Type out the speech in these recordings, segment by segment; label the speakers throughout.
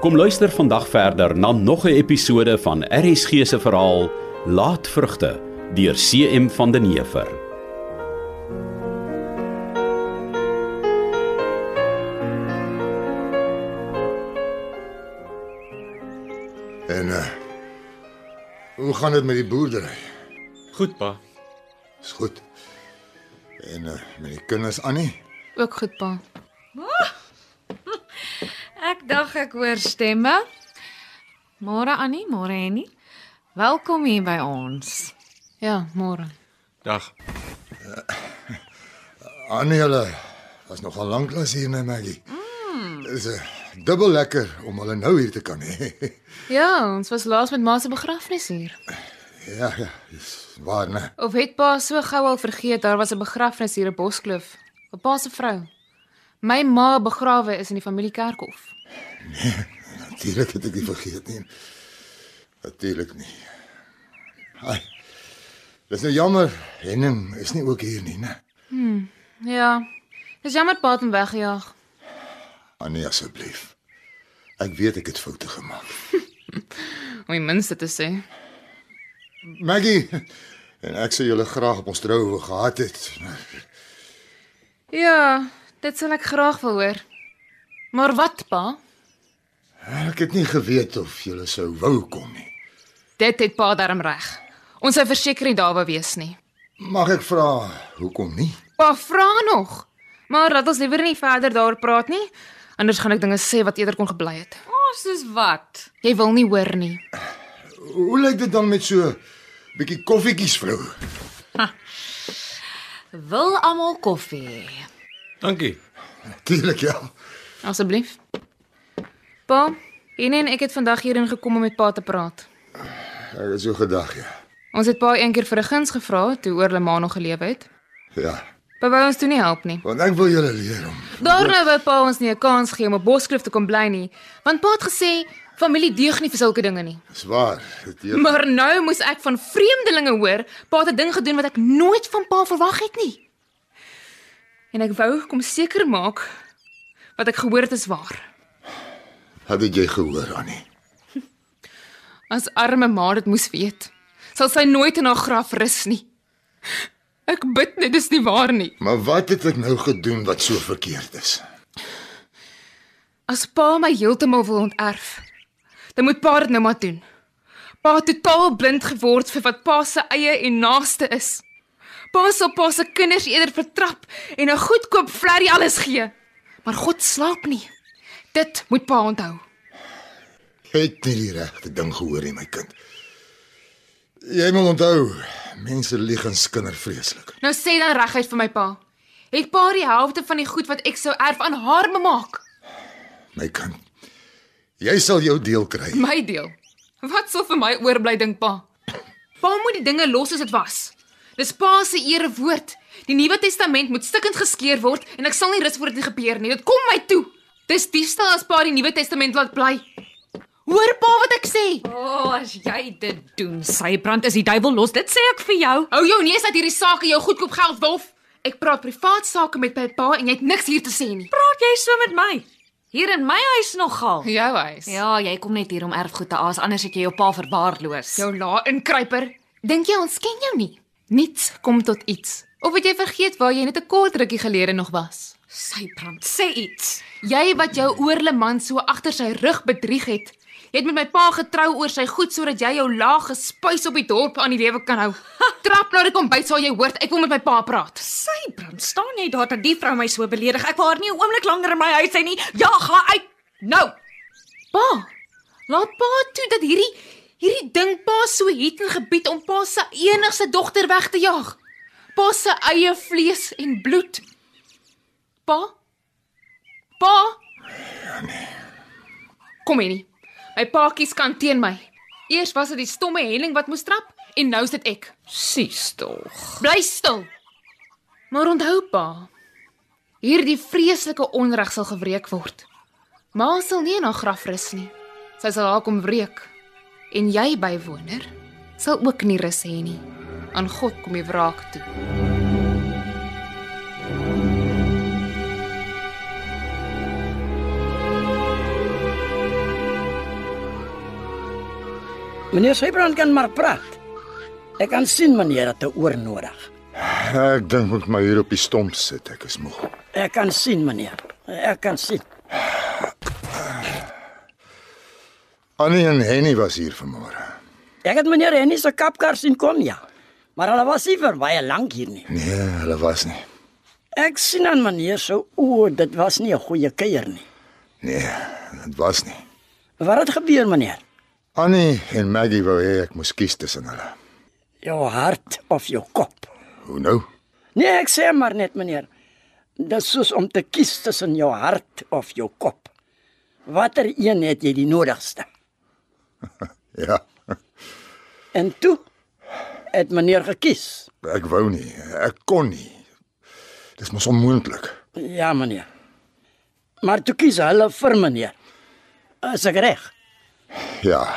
Speaker 1: Kom luister vandag verder na nog 'n episode van RSG se verhaal Laatvrugte deur CM van den Heever.
Speaker 2: En uh hoe gaan dit met die boerdery?
Speaker 3: Goed pa.
Speaker 2: Is goed. En uh met die kinders aan nie?
Speaker 4: Ook goed, pa.
Speaker 5: Ek dink ek hoor stemme.
Speaker 4: Môre Annie, môre Annie.
Speaker 5: Welkom hier by ons.
Speaker 4: Ja, môre.
Speaker 3: Dag.
Speaker 2: Annie hulle was nogal lanklaas hier in Maggie. Mm. Is 'n uh, dubbel lekker om hulle nou hier te kan hê.
Speaker 4: Ja, ons was laas met ma se begrafnis hier.
Speaker 2: ja, ja, dis waar nee. né?
Speaker 4: Of het pa so gou al vergeet daar was 'n begrafnis hier op Boskloof, 'n pa se vrou. My ma begrawe is in die familiekerkhof.
Speaker 2: Natuurlik het ek dit vergeet nie. Natuurlik nie. Ai. Dis nou jammer, Henning is nie ook hier nie, nee. né?
Speaker 4: Ja. Dis jammer pa het hom weggejaag.
Speaker 2: Annie asseblief. Ek weet ek het foute gemaak.
Speaker 4: Om die minste te sê.
Speaker 2: Maggie, en ek sou julle graag op ons troue gehad het, maar
Speaker 4: Ja, dit sal ek graag wil hoor. Maar wat pa?
Speaker 2: ek het nie geweet of julle sou wou kom nie.
Speaker 4: Dit het pa darm reg. Ons sou verseker nie daar wou wees nie.
Speaker 2: Mag ek vra hoekom nie?
Speaker 4: Pa vra nog. Maar laat ons liewer nie verder daaroor praat nie, anders gaan ek dinge sê wat eerder kon gebly het.
Speaker 5: Ons is wat?
Speaker 4: Jy wil nie hoor nie.
Speaker 2: Hoe lyk dit dan met so bietjie koffietjies vrou?
Speaker 5: Wil almal koffie.
Speaker 3: Dankie.
Speaker 2: Natuurlik ja.
Speaker 4: Asseblief. Pa, Ine en ek het vandag hierheen gekom om met pa te praat.
Speaker 2: Ek het so gedag ja.
Speaker 4: Ons het pa een keer vir 'n guns gevra toe oor Lema nog geleef het.
Speaker 2: Ja.
Speaker 4: Pa wou ons toe nie help nie.
Speaker 2: Want ek wil julle leer om.
Speaker 4: Daarna wou pa ons nie 'n kans gee om op Boskloof te kom bly nie, want pa het gesê familie deug nie vir sulke dinge nie.
Speaker 2: Dis waar. Dit jy
Speaker 4: Maar nou moes ek van vreemdelinge hoor, pa het 'n ding gedoen wat ek nooit van pa verwag het nie. En ek wou kom seker maak wat ek gehoor het is waar.
Speaker 2: het dit jy gehoor Annie.
Speaker 4: As arme ma dit moes weet, sal sy nooit in haar graf rus nie. Ek bid net dis nie waar nie.
Speaker 2: Maar wat het ek nou gedoen wat so verkeerd is?
Speaker 4: As pa my heeltemal wil onterf, dan moet pa dit nou maar doen. Pa het totaal blind geword vir wat pa se eie en naaste is. Pa sal pa se kinders eerder vertrap en 'n goedkoop vlerrie alles gee. Maar God slaap nie. Dit moet pa onthou.
Speaker 2: Jy het nie die regte ding gehoor nie, my kind. Jy moet onthou, mense lieg en skinder vreeslik.
Speaker 4: Nou sê dan reguit vir my pa. Het pa die helfte van die goed wat ek sou erf aan haar bemaak?
Speaker 2: My kind. Jy sal jou deel kry.
Speaker 4: My deel. Wat sal vir my oorbly dink pa? Pa moet die dinge los soos dit was. Dis pa se erewoord. Die Nuwe Testament moet stikkend geskeur word en ek sal nie rus voor dit nie gebeur nie. Dit kom my toe. Dis diefstal as pa die Nuwe Testament laat bly. Hoor pa wat ek sê.
Speaker 5: O, oh, as jy dit doen, Sybrand is die duiwel los. Dit sê ek vir jou.
Speaker 4: Hou jou neus uit hierdie sake jou goedkoop geld wolf. Ek praat privaat sake met my pa en jy het niks hier te sê nie.
Speaker 5: Praat jy so met my? Hier in my huis nogal.
Speaker 4: Jou huis. Ja.
Speaker 5: Ja, jy kom net hier om erfgoed te aas, anders het jy jou pa verwaarloos.
Speaker 4: Jou la inkruiper. Dink jy ons ken jou nie? Niets kom tot iets. Of het jy vergeet waar jy net 'n kort rukkie gelede nog was?
Speaker 5: Sybrand, sê iets.
Speaker 4: Jy wat jou oorle man so agter sy rug bedrieg het. Jy het met my pa getrou oor sy goed sodat jy jou laag gespuis op die dorp aan die lewe kan hou. Trap nou dit kom byt sal jy hoor ek wil met my pa praat.
Speaker 5: Sybrand, staan jy daar dat die vrou my so beledig? Ek wil haar nie 'n oomblik langer in my huis hê nie. Ja, gaan uit. Nou.
Speaker 4: Pa, laat pa toe dat hierdie hierdie ding pa so het en gebied om pa se enigste dogter weg te jaag. Pa se eie vlees en bloed. Pa? Pa? Nee. Kom hier nie. My paatjies kan teen my. Eers was dit die stomme helling wat moes trap en nou is dit ek.
Speaker 5: Sies tog.
Speaker 4: Bly stil. Maar onthou pa, hierdie vreeslike onreg sal gewreek word. Ma sal nie in haar graf rus nie. Sy sal haar kom wreek. En jy bywoner sal ook nie rus hê nie. Aan God kom die wraak toe.
Speaker 6: Meneer Sybrand kan maar praat. Ek kan sien meneer het 'n oor nodig.
Speaker 2: Ek dink moet my hier op die stomp sit. Ek is moeg.
Speaker 6: Ek kan sien meneer. Ek kan sien.
Speaker 2: Annie en Henny was hier vanmôre.
Speaker 6: Ek het meneer Henny se kapkar sien kom ja. Maar hulle was nie vir baie lank hier nie.
Speaker 2: Nee, hulle was nie.
Speaker 6: Ek sien aan meneer se so, oë, dit was nie 'n goeie kuier nie.
Speaker 2: Nee, dit was nie.
Speaker 6: Wat het gebeur meneer?
Speaker 2: Annie en Maggie wou hê ek moes kies tussen hulle.
Speaker 6: Jou hart of jou kop?
Speaker 2: Hoe nou?
Speaker 6: Nee, ek sê maar net meneer. Dis soos om te kies tussen jou hart of jou kop. Watter een het jy die nodigste?
Speaker 2: Ja,
Speaker 6: En toe het meneer gekies.
Speaker 2: ek wou nie. Ek kon nie. Dis mos onmoontlik.
Speaker 6: Ja, meneer. Maar toe kies hulle vir meneer. Is ek reg?
Speaker 2: Ja.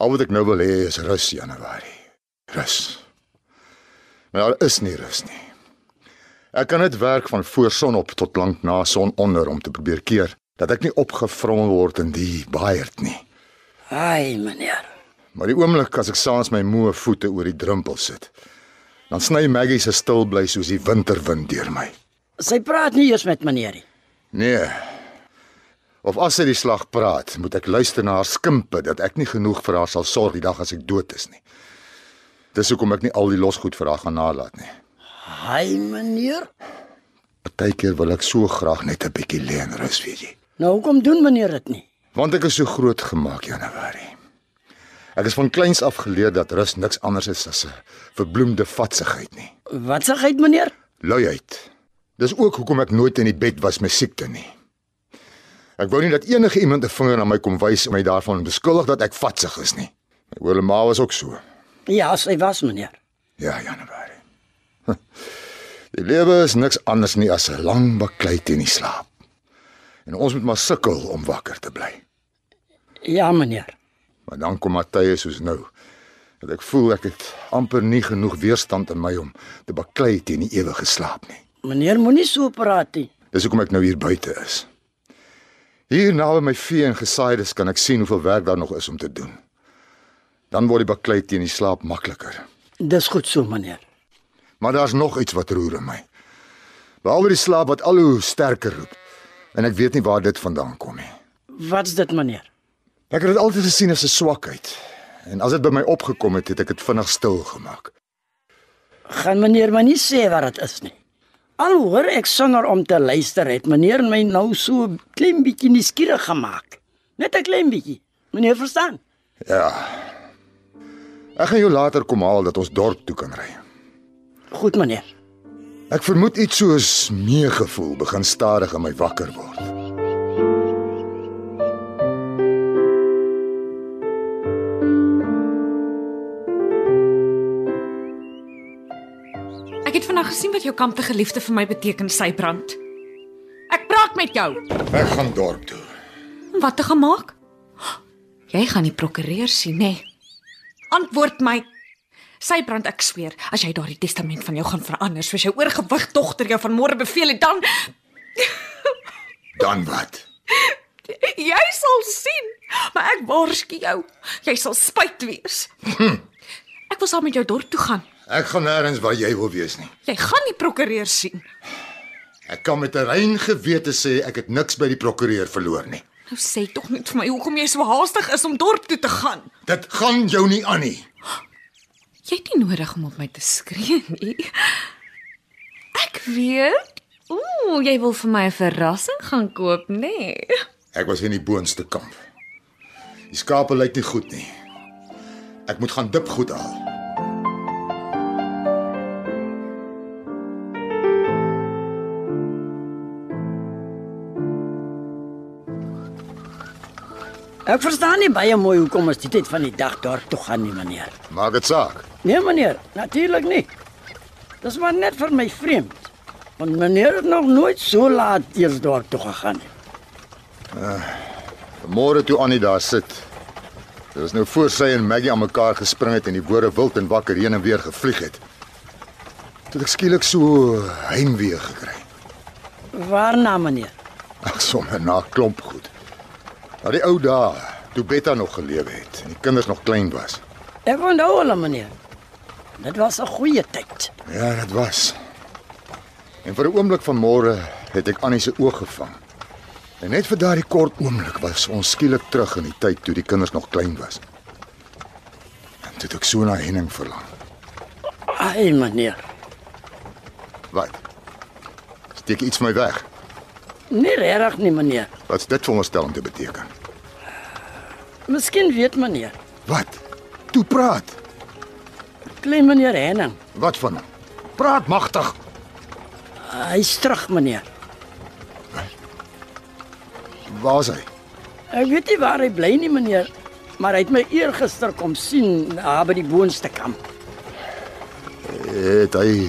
Speaker 2: Al wat ek nou wil hê is rus, Januarie. Rus. Maar daar is nie rus nie. Ek kan net werk van voor sonop tot lank na son onder om te probeer keer dat ek nie opgevrommel word in die baaierd nie.
Speaker 6: Ai, meneer.
Speaker 2: Maar die oomblik as ek saans my moe voete oor die drempel sit, dan sny Maggie se stil bly soos die winterwind deur my.
Speaker 6: Sy praat nie eers met meneer nie.
Speaker 2: Nee. Of as sy die slag praat, moet ek luister na haar skimpe dat ek nie genoeg vir haar sal sorg die dag as ek dood is nie. Dis hoekom ek nie al die losgoed vir haar gaan nalat nie.
Speaker 6: Ai, meneer.
Speaker 2: Partykeer wil ek so graag net 'n bietjie lê en rus, weet jy.
Speaker 6: Nou hoekom doen meneer dit nie?
Speaker 2: Want ek is so groot gemaak, Januarie. Ek is van kleins af geleer dat rus niks anders is as 'n verbloemde vatsigheid nie.
Speaker 6: Wat sê hy meneer?
Speaker 2: luiheid. Dis ook hoekom ek nooit in die bed was met siekte nie. Ek wou nie dat enige iemand 'n vinger na my kom wys en my daarvan beskuldig dat ek vatsig is nie. My ouer ma was ook so.
Speaker 6: Ja, sy was meneer.
Speaker 2: Ja, Januarie. Die lewe is niks anders nie as 'n lang baklei teen die slaap. En ons moet maar sukkel om wakker te bly.
Speaker 6: Ja, meneer.
Speaker 2: Maar dan kom maar tye soos nou dat ek voel ek het amper nie genoeg weerstand in my om te baklei teen die ewige slaap nie.
Speaker 6: Meneer moenie so praat nie.
Speaker 2: Dis hoekom ek nou hier buite is. Hier naby my vee en gesaaides kan ek sien hoeveel werk daar nog is om te doen. Dan word die baklei teen die slaap makliker.
Speaker 6: Dis goed so meneer.
Speaker 2: Maar daar's nog iets wat roer in my. Behalwe die slaap wat al hoe sterker roep en ek weet nie waar dit vandaan kom nie.
Speaker 6: Wat's dit meneer?
Speaker 2: Ek het dit altyd gesien as 'n swakheid en as dit by my opgekom het, het ek dit vinnig stil gemaak.
Speaker 6: Gaan meneer maar nie sê wat dit is nie. Al hoor ek sonder om te luister het meneer my nou so 'n klein bietjie nuuskierig gemaak. Net 'n klein bietjie. Meneer verstaan?
Speaker 2: Ek gaan jou later kom haal dat ons dorp toe kan ry.
Speaker 6: Goed meneer.
Speaker 2: Ek vermoed iets soos meegevoel begin stadig in my wakker word.
Speaker 5: Ek het vandag gesien wat jou kampte geliefde vir my beteken, Sybrand. Ek praat met jou.
Speaker 2: Ek gaan dorp toe.
Speaker 5: En Wat te gemaak? Jy gaan die prokureur sien, nê? Nee. Antwoord my. Sybrand, ek sweer, as jy daardie testament van jou gaan verander soos jou oorgewig dogter jou vanmôre beveel het, dan
Speaker 2: Dan wat?
Speaker 5: jy sal sien. Maar ek waarsku jou, jy sal spyt wees. Ek wil saam met jou dorp toe gaan.
Speaker 2: Ek gaan nêrens waar jy wil wees nie.
Speaker 5: Jy gaan die prokureur sien.
Speaker 2: Ek kan met 'n rein gewete sê ek het niks by die prokureur verloor nie.
Speaker 5: Nou sê tog net vir my hoekom jy so haastig is om dorp toe te gaan.
Speaker 2: Dit gaan jou nie aan nie.
Speaker 5: Jy het nie nodig om op my te skree nie.
Speaker 7: Ek weet. Ooh, jy wil vir my 'n verrassing gaan koop, nê? Nee.
Speaker 2: Ek was in die boonste kamp. Die skape lyk nie goed nie. Ek moet gaan dip goed haal.
Speaker 6: Ek verstaan nie baie mooi hoekom ons die tyd van die dag dorp toe gaan nie meneer.
Speaker 2: Maak dit saak.
Speaker 6: Nee meneer, natuurlik nie. Dis maar net vir my vreemd. Want meneer het nog nooit so laat eers dorp toe gegaan nie.
Speaker 2: Môre toe Annie daar sit. Dit is nou voor sy en Maggie aan mekaar gespring het en die woorde wild en wakker heen en weer gevlieg het. Toe het ek skielik so heimwee gekry.
Speaker 6: Waarna meneer?
Speaker 2: Ag sommer na klomp goed. Na die ou dae toe Betta nog gelewe het en die kinders nog klein was.
Speaker 6: Ek onthou hulle meneer. Dit was 'n goeie tyd.
Speaker 2: Ja, dit was. En vir 'n oomblik van môre het ek Annie se oog gevang. En net vir daardie kort oomblik was ons skielik terug in die tyd toe die kinders nog klein was. En toe het ek so na Henning verlang.
Speaker 6: Ai meneer.
Speaker 2: Wat? Steek iets my weg.
Speaker 6: Nie regtig nie meneer.
Speaker 2: Wat's dit vir ons stel om te beteken?
Speaker 6: Miskien weet meneer.
Speaker 2: Wat? Toe praat.
Speaker 6: Klein meneer Henning.
Speaker 2: Wat van hom? Praat magtig.
Speaker 6: Hy's terug meneer.
Speaker 2: Waar is hy?
Speaker 6: Ek weet nie waar hy bly nie meneer, maar hy het my eergister kom sien daar by die boonste kamp.
Speaker 2: Het hy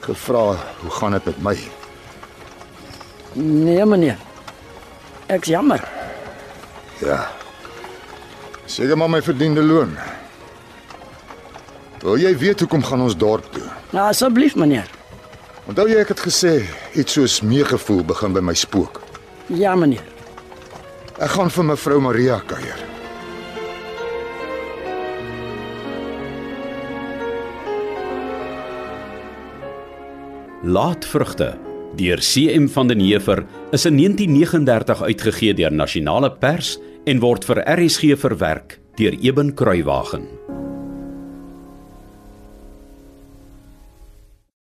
Speaker 2: gevra hoe gaan dit met my?
Speaker 6: Nee meneer. Ek's jammer.
Speaker 2: Ja. Seker maar my verdiende loon. Wil jy weet hoekom gaan ons dorp toe?
Speaker 6: Nou asseblief meneer.
Speaker 2: Onthou jy ek het gesê iets soos meegevoel begin by my spook.
Speaker 6: Ja meneer.
Speaker 2: Ek gaan vir mevrou Maria kuier.
Speaker 1: Laatvrugte deur CM van den Heever is in 1939 uitgegee deur Nasionale Pers en word vir RSG verwerk deur Eben Kruiwagen.